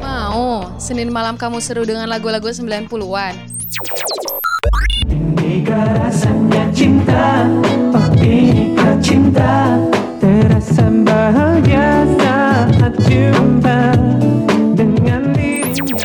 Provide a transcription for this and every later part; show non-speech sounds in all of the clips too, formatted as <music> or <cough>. Mau, Senin malam kamu seru dengan lagu-lagu 90-an. Indika rasanya cinta, indika cinta Terasa bahagia saat jumpa dengan dirimu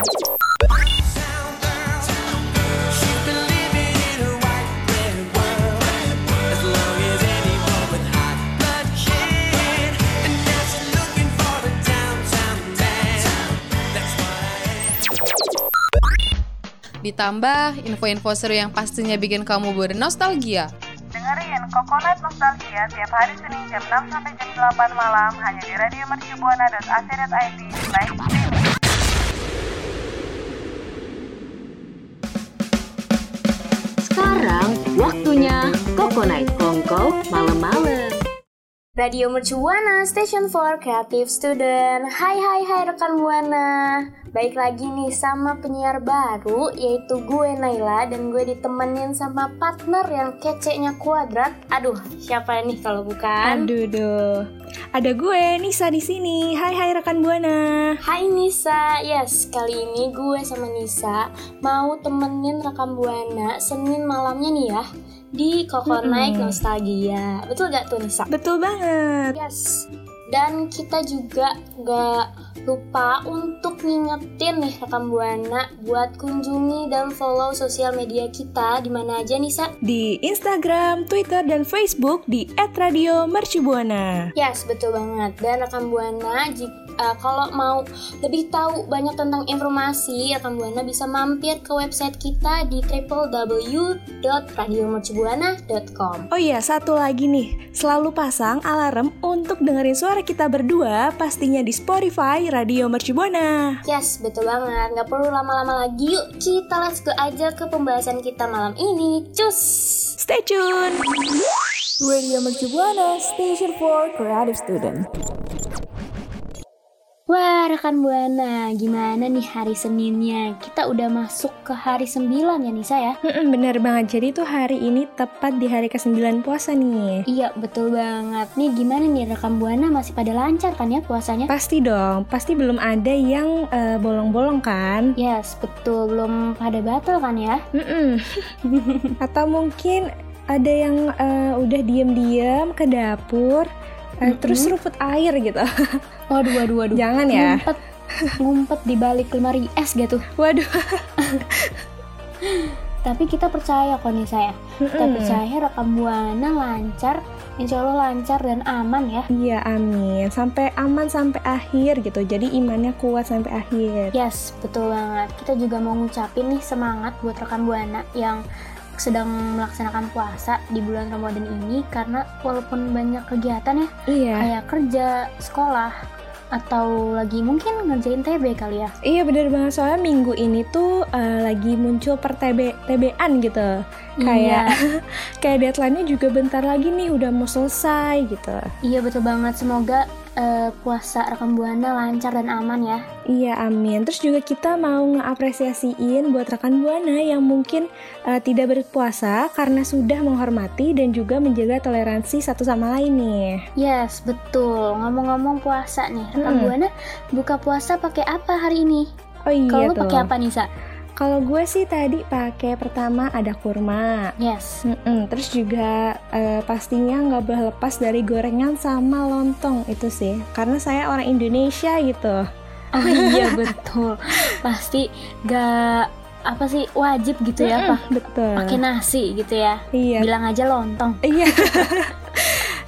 Ditambah info-info seru yang pastinya bikin kamu bernostalgia. Dengerin Kokonat Nostalgia tiap hari Senin jam 6 sampai jam 8 malam hanya di radiomercubuana.ac.id. Baik, streaming. Sekarang waktunya Kokonai Kongko malam-malam. Radio Mercu Buana, Station for Creative Student. Hai hai hai rekan Buana. Baik lagi nih sama penyiar baru yaitu gue Naila dan gue ditemenin sama partner yang keceknya kuadrat. Aduh, siapa nih kalau bukan? Aduh, duh. Ada gue Nisa di sini. Hai hai rekan Buana. Hai Nisa, yes kali ini gue sama Nisa mau temenin rekam Buana Senin malamnya nih ya di Kokonai Nostalgia. Betul gak tuh Nisa? Betul banget. Yes. Dan kita juga gak lupa untuk ngingetin nih rekam buana buat kunjungi dan follow sosial media kita di mana aja nih Sa? Di Instagram, Twitter, dan Facebook di @radiomercubuana. Yes, betul banget. Dan rekam buana jik- eh, kalau mau lebih tahu banyak tentang informasi, rekam buana bisa mampir ke website kita di www.radiomercubuana.com. Oh iya, satu lagi nih. Selalu pasang alarm untuk dengerin suara kita berdua pastinya di Spotify Radio Mercubuana. Yes, betul banget. Nggak perlu lama-lama lagi. Yuk, kita let's go aja ke pembahasan kita malam ini. Cus! Stay tune. Wah, rekan Buana, gimana nih hari Seninnya? Kita udah masuk ke hari 9 ya, Nisa ya? Mm-mm, Bener banget. Jadi tuh hari ini tepat di hari ke-9 puasa nih. Iya, betul banget. Nih, gimana nih rekan Buana masih pada lancar kan ya puasanya? Pasti dong, pasti belum ada yang eh, bolong-bolong kan? Yes, betul. Belum pada batal kan ya? Mm-mm. <laughs> Atau mungkin ada yang eh, udah diem-diem ke dapur, eh, terus seruput air gitu. <laughs> Waduh, waduh, waduh. Jangan ya. Ngumpet, ngumpet di balik lemari es gitu. Waduh. Tapi kita percaya kok Nisa ya. Kita Mm-mm. percaya rekam Buana lancar. Insya Allah lancar dan aman ya. Iya, amin. Sampai aman sampai akhir gitu. Jadi imannya kuat sampai akhir. Yes, betul banget. Kita juga mau ngucapin nih semangat buat rekan Buana yang sedang melaksanakan puasa di bulan Ramadan ini karena walaupun banyak kegiatan ya, Iya. kayak kerja, sekolah, atau lagi mungkin ngerjain TB kali ya. Iya bener banget soalnya minggu ini tuh eh, lagi muncul per TB TB-an gitu. Kayak <laughs> Iya, kayak deadline-nya juga bentar lagi nih udah mau selesai gitu. iya betul banget. Semoga eh, puasa rekan Buana lancar dan aman ya. Iya, amin. Terus juga kita mau ngeapresiasiin buat rekan Buana yang mungkin eh, tidak berpuasa karena sudah menghormati dan juga menjaga toleransi satu sama lain nih. Yes, betul. Ngomong-ngomong puasa nih, rekan Mm-mm. Buana buka puasa pakai apa hari ini? Oh iya Kalau lu tuh. pakai apa Nisa? Kalau gue sih tadi pakai pertama ada kurma. Yes. Mm-mm. Terus juga eh, pastinya nggak boleh lepas dari gorengan sama lontong itu sih. Karena saya orang Indonesia gitu. Oh iya <laughs> betul. Pasti gak apa sih wajib gitu ya pak Betul. pakai nasi gitu ya. Iya. Bilang aja lontong. Iya. <laughs>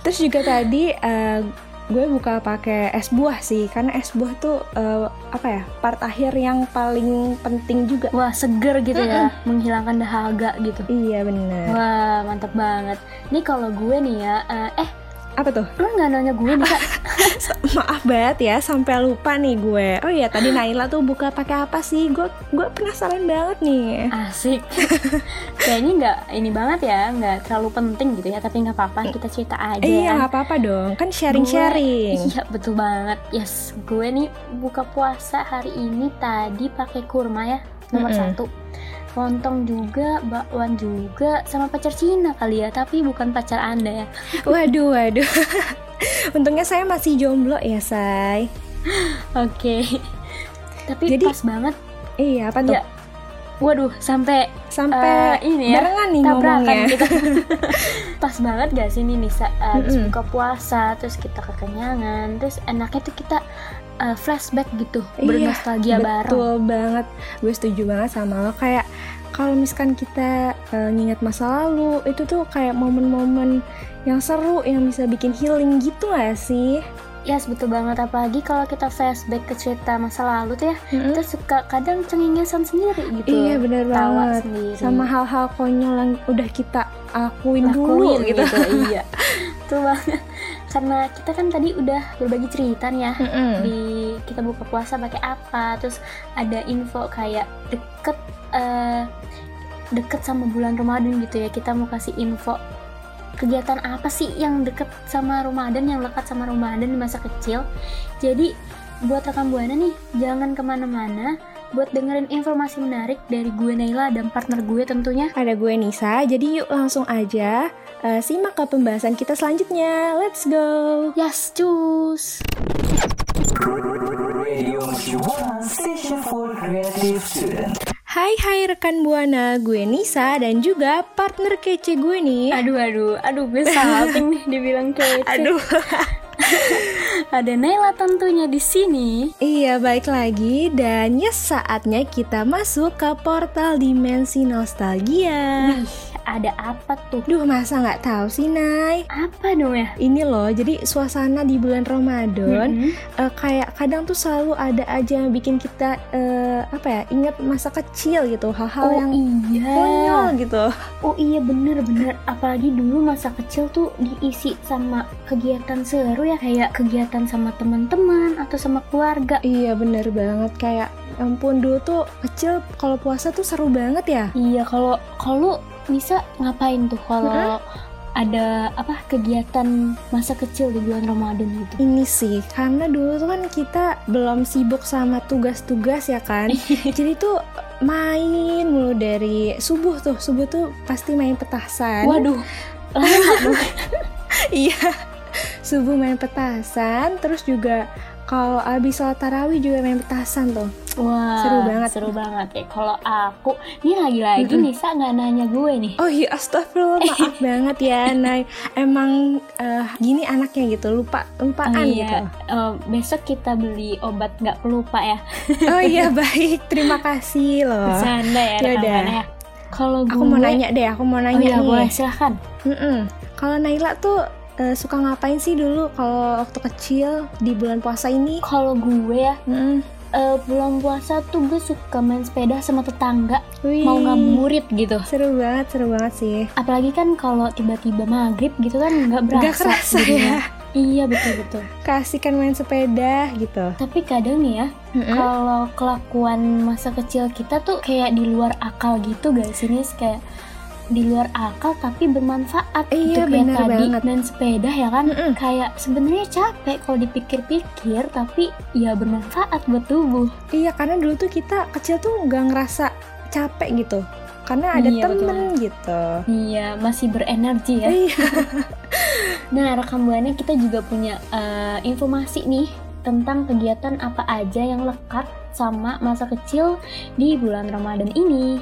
Terus juga tadi eh, gue buka pakai es buah sih, karena es buah tuh eh, apa ya part akhir yang paling penting juga. Wah seger gitu ya, menghilangkan dahaga gitu. Iya bener. Wah mantap banget. Nih kalau gue nih ya, eh, eh Apa tuh? <laughs> lu nggak nanya gue nih Kak? Maaf banget ya, sampai lupa nih gue. Oh iya tadi Naila tuh buka pakai apa sih? Gue gue penasaran banget nih. Asik. Kayaknya nggak ini banget ya, nggak terlalu penting gitu ya. Tapi nggak apa-apa, kita cerita aja. Iya ya. nggak apa-apa dong, kan sharing-sharing. Gue- Iya betul banget. Yes, gue nih buka puasa hari ini tadi pakai kurma ya nomor Mm-mm. satu. Lontong juga, bakwan <laughs> juga, sama pacar Cina kali ya. Tapi bukan pacar anda ya. Waduh waduh. Untungnya saya masih jomblo ya, Say. Oke. <laughs> Tapi Jadi- pas banget. Iya, apa tuh? Iya. Waduh, sampai Sampai Eh, ini ya, barengan nih tabrakan ngomongnya. kita. <laughs> Pas banget gak sih nih Nisa abis Mm-mm. buka puasa, terus kita kekenyangan, terus enaknya tuh kita eh, flashback gitu, Iya, bernostalgia bareng. Betul banget. Gue setuju banget sama lo kayak kalau misalkan kita eh, nginget masa lalu, itu tuh kayak momen-momen yang seru yang bisa bikin healing gitu gak sih? Yes, betul banget apalagi kalau kita flashback ke cerita masa lalu tuh ya, Mm-mm. kita suka kadang cengengesan sendiri gitu. Hmm? Iya bener Tawa banget. sendiri. Nah, Sama hal-hal konyol yang udah kita akuin dulu lakuin gitu. iya. <laughs> Betul banget. Karena kita kan tadi udah berbagi cerita nih ya. Mm-mm. di kita buka puasa pakai apa terus ada info kayak deket eh, deket sama bulan Ramadan gitu ya kita mau kasih info kegiatan apa sih yang deket sama Ramadan yang lekat sama Ramadan di masa kecil jadi buat rekan buana nih jangan kemana-mana buat dengerin informasi menarik dari gue Naila dan partner gue tentunya Ada gue Nisa, jadi yuk langsung aja eh, simak ke pembahasan kita selanjutnya. Let's go! yes cus Hai hai rekan Buana, gue Nisa dan juga partner kece gue nih. aduh aduh aduh gue salting nih dibilang kayak ada Naila tentunya di sini Iya, baik lagi dan yes saatnya kita masuk ke portal dimensi nostalgia. ada apa tuh? Duh, masa nggak tahu sih, Nay? Apa dong ya? Ini loh, jadi suasana di bulan Ramadan Mm-mm. eh, kayak kadang tuh selalu ada aja yang bikin kita eh, apa ya, ingat masa kecil gitu, hal-hal Oh yang iya. konyol gitu. Oh iya bener-bener. Apalagi dulu masa kecil tuh diisi sama kegiatan seru ya kayak kegiatan sama teman-teman atau sama keluarga. Iya bener banget kayak ampun dulu tuh kecil kalau puasa tuh seru banget ya. Iya kalau kalau bisa ngapain tuh Hmm? kalau ada apa kegiatan masa kecil di bulan Ramadan gitu? Ini sih karena dulu tuh kan kita belum sibuk sama tugas-tugas ya <laughs> kan. Iya. Jadi tuh main mulu dari subuh tuh subuh tuh pasti main petasan. Waduh. <laughs> iya subuh main petasan terus juga kalau abis sholat tarawih juga main petasan tuh. Wah, <laughs> Seru banget. Hmm. Seru banget ya. Kalau aku, ini lagi-lagi Mm-mm. Nisa nggak nanya gue nih. Oh iya astagfirullah <laughs> maaf banget ya. Nah emang eh, gini anaknya gitu lupa lupaan Oh gitu. iya, Eh, besok kita beli obat nggak pelupa ya. Oh iya <laughs> baik, terima kasih loh. Bercanda ya, Yaudah. rekan-rekan ya. Kalau gue, Iya Aku mau nanya deh, aku mau oh nanya iya nih. boleh silahkan. Mm-mm. Kalau Naila tuh eh, suka ngapain sih dulu kalau waktu kecil di bulan puasa ini? Kalau gue ya, Mm-mm. eh, bulan puasa tuh gue suka main sepeda sama tetangga, Wih, mau ngabuburit gitu. Seru banget, seru banget sih. Apalagi kan kalau tiba-tiba maghrib gitu kan nggak berasa. Gak kerasa jadinya. ya, Iya betul betul. kasihkan main sepeda gitu. Tapi kadang nih ya, Mm-mm. kalau kelakuan masa kecil kita tuh kayak di luar akal gitu gak sih Nis? kayak di luar akal tapi bermanfaat gitu Iya, kayak bener tadi banget. main sepeda ya kan Mm-mm. kayak sebenarnya capek kalau dipikir-pikir tapi ya bermanfaat buat tubuh Iya, karena dulu tuh kita kecil tuh nggak ngerasa capek gitu, karena ada Iya, betul. temen gitu. iya masih berenergi ya Iya. nah rekam buana kita juga punya eh, informasi nih tentang kegiatan apa aja yang lekat sama masa kecil di bulan Ramadan ini.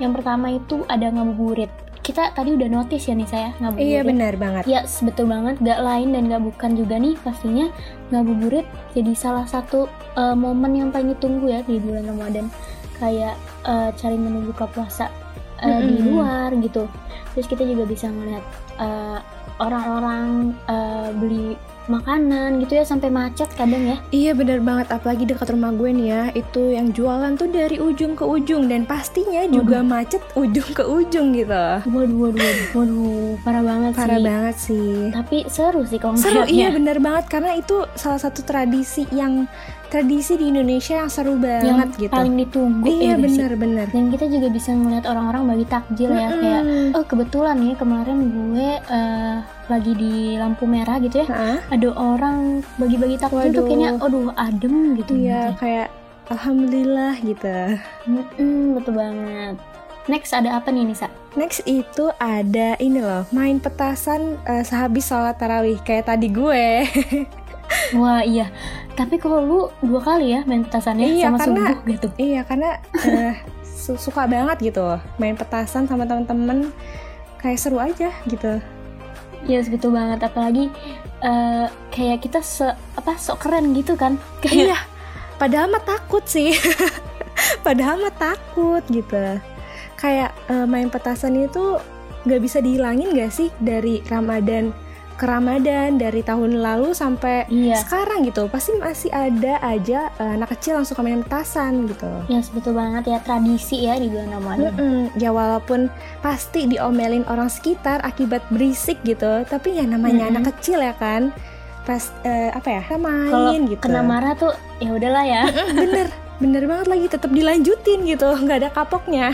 Yang pertama itu ada ngabuburit. Kita tadi udah notice ya nih saya ngabuburit. Iya benar banget. Ya, betul banget. Gak lain dan gak bukan juga nih pastinya ngabuburit jadi salah satu eh, momen yang paling ditunggu ya di bulan Ramadan. Kayak eh, cari menu buka puasa eh, di Mm-mm. luar gitu. Terus kita juga bisa ngeliat eh, orang-orang eh, beli makanan gitu ya sampai macet kadang ya. Iya bener banget, apalagi dekat rumah gue nih ya Itu yang jualan tuh dari ujung ke ujung Dan pastinya juga macet ujung ke ujung gitu Waduh, waduh, waduh, waduh, parah banget Parah sih. banget sih Tapi seru sih kalau Seru, ngeliatnya. iya bener banget Karena itu salah satu tradisi yang Tradisi di Indonesia yang seru yang banget gitu paling ditunggu ya Iya gak sih? bener-bener Dan kita juga bisa ngeliat orang-orang bagi takjil ya kayak Oh kebetulan nih kemarin gue eh, lagi di lampu merah gitu ya Ada orang bagi-bagi takjil tuh Waduh. kayaknya aduh adem gitu Iya kayak Alhamdulillah gitu Mm-mm, Betul banget Next ada apa nih Nisa? Next itu ada ini loh, main petasan eh, sehabis sholat tarawih kayak tadi gue. <laughs> Wah iya, tapi kalau lu dua kali ya main petasannya Iya, sama karena- subuh gitu. iya karena eh, su- suka banget gitu main petasan sama temen-temen kayak seru aja gitu. Iya yes, betul banget, apalagi eh, kayak kita se apa sok keren gitu kan? Kayak Iya. Padahal mah takut sih. <laughs> Padahal mah takut gitu. Kayak eh, main petasan itu nggak bisa dihilangin gak sih dari Ramadan ke Ramadan dari tahun lalu sampai iya. sekarang gitu. Pasti masih ada aja eh, anak kecil yang suka main petasan gitu. Yes, betul banget ya tradisi ya di bulan Ramadan. Mm-mm. Ya walaupun pasti diomelin orang sekitar akibat berisik gitu, tapi ya namanya Mm-mm. anak kecil ya kan. Pas eh, apa ya? Kita main Kalau gitu. kena marah tuh ya udahlah <laughs> ya. bener bener banget lagi tetap dilanjutin gitu <laughs> nggak ada kapoknya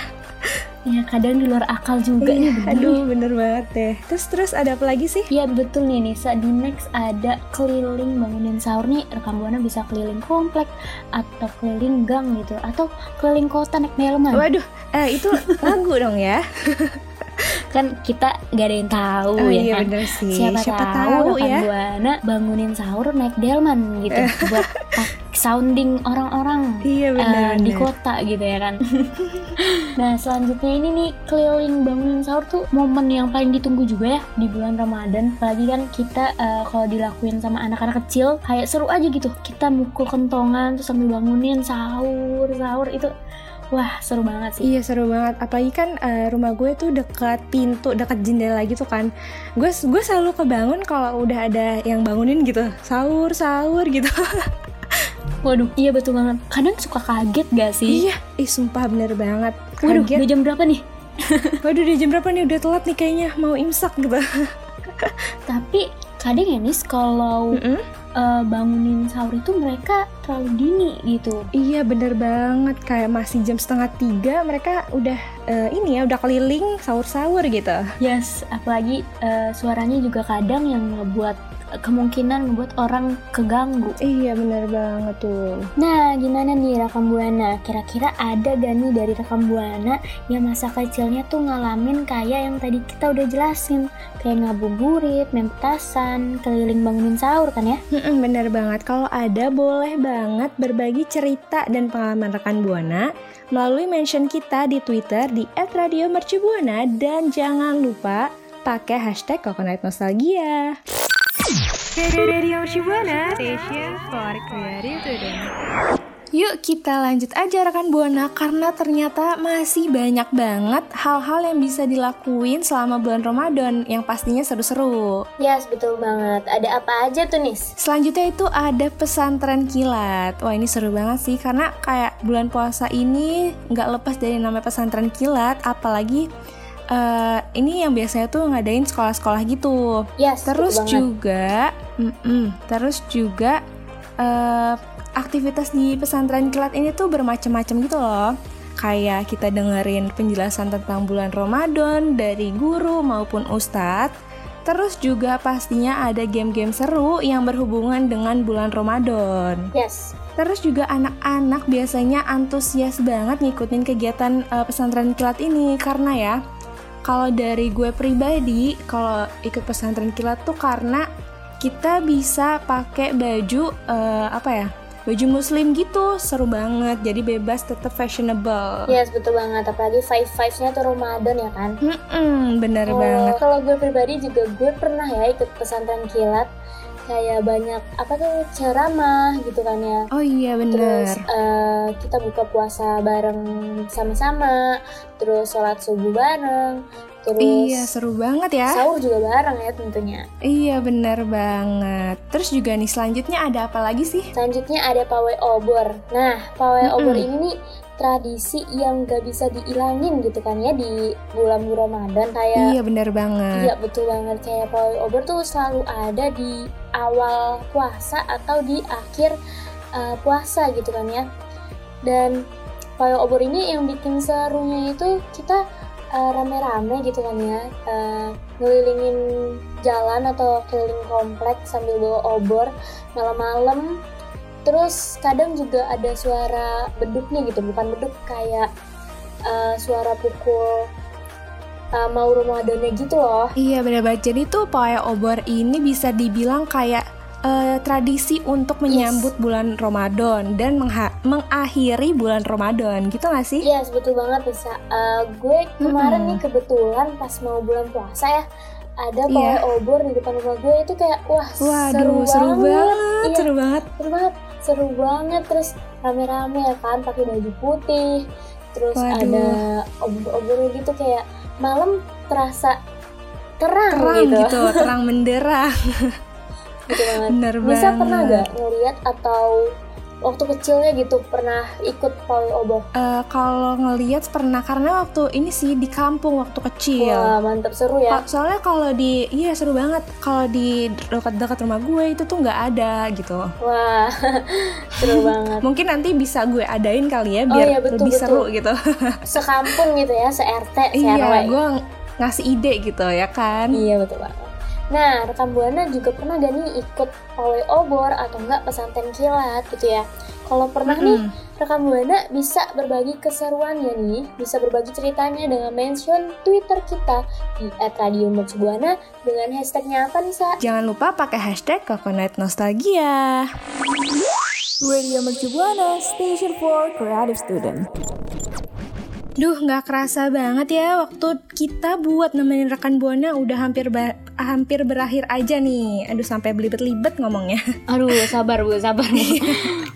ya kadang di luar akal juga nih. Iya, bener nih. <laughs> aduh bener banget deh terus terus ada apa lagi sih Iya betul nih Nisa, di next ada keliling bangunin sahur nih rekan Buana bisa keliling komplek atau keliling gang gitu atau keliling kota naik delman waduh eh, itu lagu dong <laughs> ya kan kita gak ada yang tahu oh ya iya kan? bener sih Siapa, tahu, rekan ya Eh. Buana bangunin sahur naik delman gitu buat tak- sounding orang-orang iya eh, bener, di bener. kota gitu ya kan. <laughs> nah selanjutnya ini nih keliling bangunin sahur tuh momen yang paling ditunggu juga ya di bulan Ramadan. Apalagi kan kita eh, kalau dilakuin sama anak-anak kecil kayak seru aja gitu. Kita mukul kentongan terus sambil bangunin sahur sahur itu wah seru banget sih. Iya seru banget, apalagi kan eh, rumah gue tuh dekat pintu, dekat jendela gitu kan. Gue gue selalu kebangun kalau udah ada yang bangunin gitu, sahur sahur gitu. Waduh iya betul banget. Kadang suka kaget gak sih? iya, ih sumpah bener banget. Waduh Iya, Kaget. udah jam berapa nih? Waduh, udah jam berapa nih? Udah telat nih kayaknya, mau imsak gitu. Tapi kadang ya Nis kalau Mm-mm. eh, bangunin sahur itu mereka terlalu dini gitu. Iya bener banget kayak masih jam setengah tiga mereka udah eh, ini ya udah keliling sahur-sahur gitu. Yes, apalagi eh, suaranya juga kadang yang ngebuat eh, kemungkinan membuat orang keganggu. Iya bener banget tuh. Nah, gimana nih rekam buana? Kira-kira ada gak nih dari rekam buana yang masa kecilnya tuh ngalamin kayak yang tadi kita udah jelasin, kayak ngabuburit, main petasan, keliling bangunin sahur kan ya? Mm-mm, bener banget kalau ada boleh banget berbagi cerita dan pengalaman rekan buana melalui mention kita di Twitter di @radiomercubuana dan jangan lupa pakai hashtag Coconut Nostalgia. Yuk kita lanjut aja rekan Buana karena ternyata masih banyak banget hal-hal yang bisa dilakuin selama bulan Ramadan yang pastinya seru-seru. Yes, betul banget. Ada apa aja tuh, Nis? Selanjutnya itu ada pesantren kilat. Wah ini seru banget sih karena kayak bulan puasa ini nggak lepas dari nama pesantren kilat, apalagi eh, ini yang biasanya tuh ngadain sekolah-sekolah gitu. Yes, Terus betul banget. juga, mm-mm, terus juga eh, aktivitas di pesantren kilat ini tuh bermacam-macam gitu loh. Kayak kita dengerin penjelasan tentang bulan Ramadan dari guru maupun ustadz. Terus juga pastinya ada game-game seru yang berhubungan dengan bulan Ramadan. Yes, Terus juga anak-anak biasanya antusias banget ngikutin kegiatan eh, pesantren kilat ini karena ya kalau dari gue pribadi kalau ikut pesantren kilat tuh karena kita bisa pakai baju eh, apa ya baju muslim gitu seru banget jadi bebas tetap fashionable. yes, betul banget. Apalagi five five-nya tuh Ramadan ya kan? Mm-mm, bener Kalau- banget. Kalau gue pribadi juga gue pernah ya ikut pesantren kilat kayak banyak apa tuh ceramah gitu kan ya. Oh iya Terus bener. eh, kita buka puasa bareng sama-sama, terus sholat subuh bareng, terus Iya seru banget ya. sahur juga bareng ya tentunya. Iya bener banget. Terus juga nih selanjutnya ada apa lagi sih? Selanjutnya ada pawai obor. Nah, pawai Mm-mm. obor ini nih tradisi yang gak bisa diilangin gitu kan ya di bulan Ramadan kayak Iya bener banget. Ya. Iya betul banget kayak pawai obor tuh selalu ada di awal puasa atau di akhir uh, puasa gitu kan ya. Dan pawai obor ini yang bikin serunya itu kita uh, rame-rame gitu kan ya, uh, ngelilingin jalan atau keliling komplek sambil bawa obor malam-malam. Terus kadang juga ada suara beduknya gitu, bukan beduk kayak eh, suara pukul eh, mau Ramadannya gitu loh. Iya benar banget. Jadi tuh pawai obor ini bisa dibilang kayak eh, tradisi untuk menyambut bulan Ramadan dan mengha- mengakhiri bulan Ramadan gitu gak sih? Iya, betul banget bisa. Eh, gue kemarin Mm-mm. nih kebetulan pas mau bulan puasa ya ada Iya. pawai obor di depan rumah gue itu kayak wah Waduh, seru, banget, Iya. seru banget. seru banget seru banget terus rame-rame ya kan pakai baju putih terus Waduh. ada obor-obor gitu kayak malam terasa terang, Terang gitu, gitu, terang <laughs> menderang. Gitu banget Bener banget. Nisa pernah gak ngeliat atau waktu kecilnya gitu pernah ikut pawai obor Eh, kalau ngelihat pernah karena waktu ini sih di kampung waktu kecil. wah mantep seru ya Ka- Soalnya kalau di iya seru banget. Kalau di dekat-dekat rumah gue itu tuh nggak ada gitu. wah <laughs> seru banget Mungkin nanti bisa gue adain kali ya Oh, biar iya, betul, lebih betul. seru gitu. sekampung gitu ya se RT se RW iya, gue ng- ngasih ide gitu ya kan. Iya betul banget. Nah, rekan buana juga pernah gak nih ikut pawai obor atau enggak pesantren kilat gitu ya? Kalau pernah nih, Mm-mm. rekan buana bisa berbagi keseruannya nih, bisa berbagi ceritanya dengan mention Twitter kita di @radiomercubuana dengan hashtagnya apa nih, Sa? Jangan lupa pakai hashtag Coconut Nostalgia. Radio Mercubuana, station for creative student. Duh, nggak kerasa banget ya waktu kita buat nemenin rekan buana udah hampir ba- hampir berakhir aja nih. Aduh, sampai belibet-libet ngomongnya. <laughs> Aduh, sabar Bu, sabar Bu. <laughs>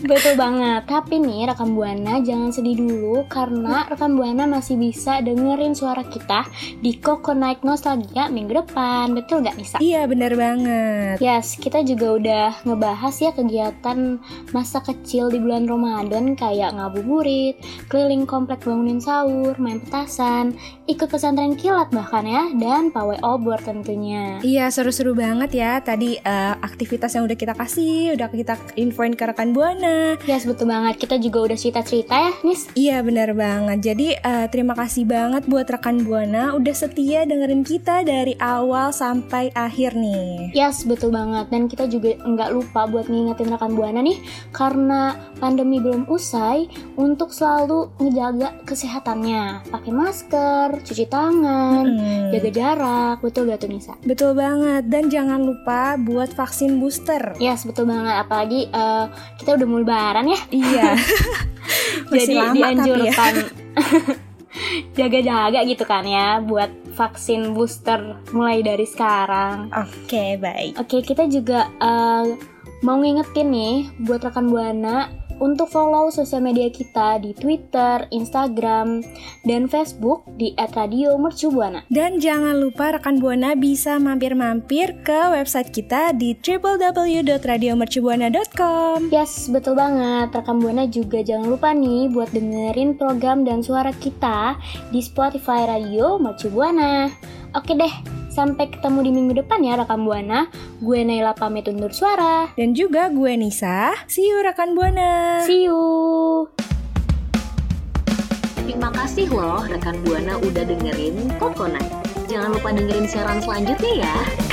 Betul banget. Tapi nih rekam Buana jangan sedih dulu karena rekam Buana masih bisa dengerin suara kita di Koko Night Nostalgia minggu depan. Betul gak Nisa? Iya, bener banget. Yes, kita juga udah ngebahas ya kegiatan masa kecil di bulan Ramadan kayak ngabuburit, keliling komplek bangunin sahur, main petasan, ikut pesantren kilat bahkan ya, dan pawai obor tentunya. Iya, seru-seru banget ya. Tadi eh, aktivitas yang udah kita kasih, udah kita infoin ke rekan Buana. Yes, betul banget. Kita juga udah cerita-cerita ya, Nis. Iya, bener banget. Jadi, eh, terima kasih banget buat rekan Buana udah setia dengerin kita dari awal sampai akhir nih. Yes, betul banget. Dan kita juga nggak lupa buat ngingetin rekan Buana nih, karena pandemi belum usai, untuk selalu ngejaga kesehatannya. Pakai masker, cuci tangan, Hmm. jaga jarak, betul gak tuh Nisa? Betul banget, dan jangan lupa buat vaksin booster. Yes, betul banget. Apalagi eh, kita udah mau lebaran ya, <laughs> Iya, jadi <laughs> masih lama tapi ya. dianjurkan <laughs> jaga-jaga gitu kan ya, buat vaksin booster mulai dari sekarang. Oke, baik. Oke, kita juga eh, mau ngingetin nih buat rekan Buana untuk follow sosial media kita di Twitter, Instagram, dan Facebook di @radiomercubuana. Dan jangan lupa rekan Buana bisa mampir-mampir ke website kita di www.radiomercubuana.com. Yes, betul banget. Rekan Buana juga jangan lupa nih buat dengerin program dan suara kita di Spotify Radio Mercu Buana. Oke deh, sampai ketemu di minggu depan ya rekan Buana. Gue Naila pamit undur suara. Dan juga gue Nisa. See you rekan Buana. See you. Terima kasih loh rekan Buana udah dengerin Kokonai. Jangan lupa dengerin siaran selanjutnya ya.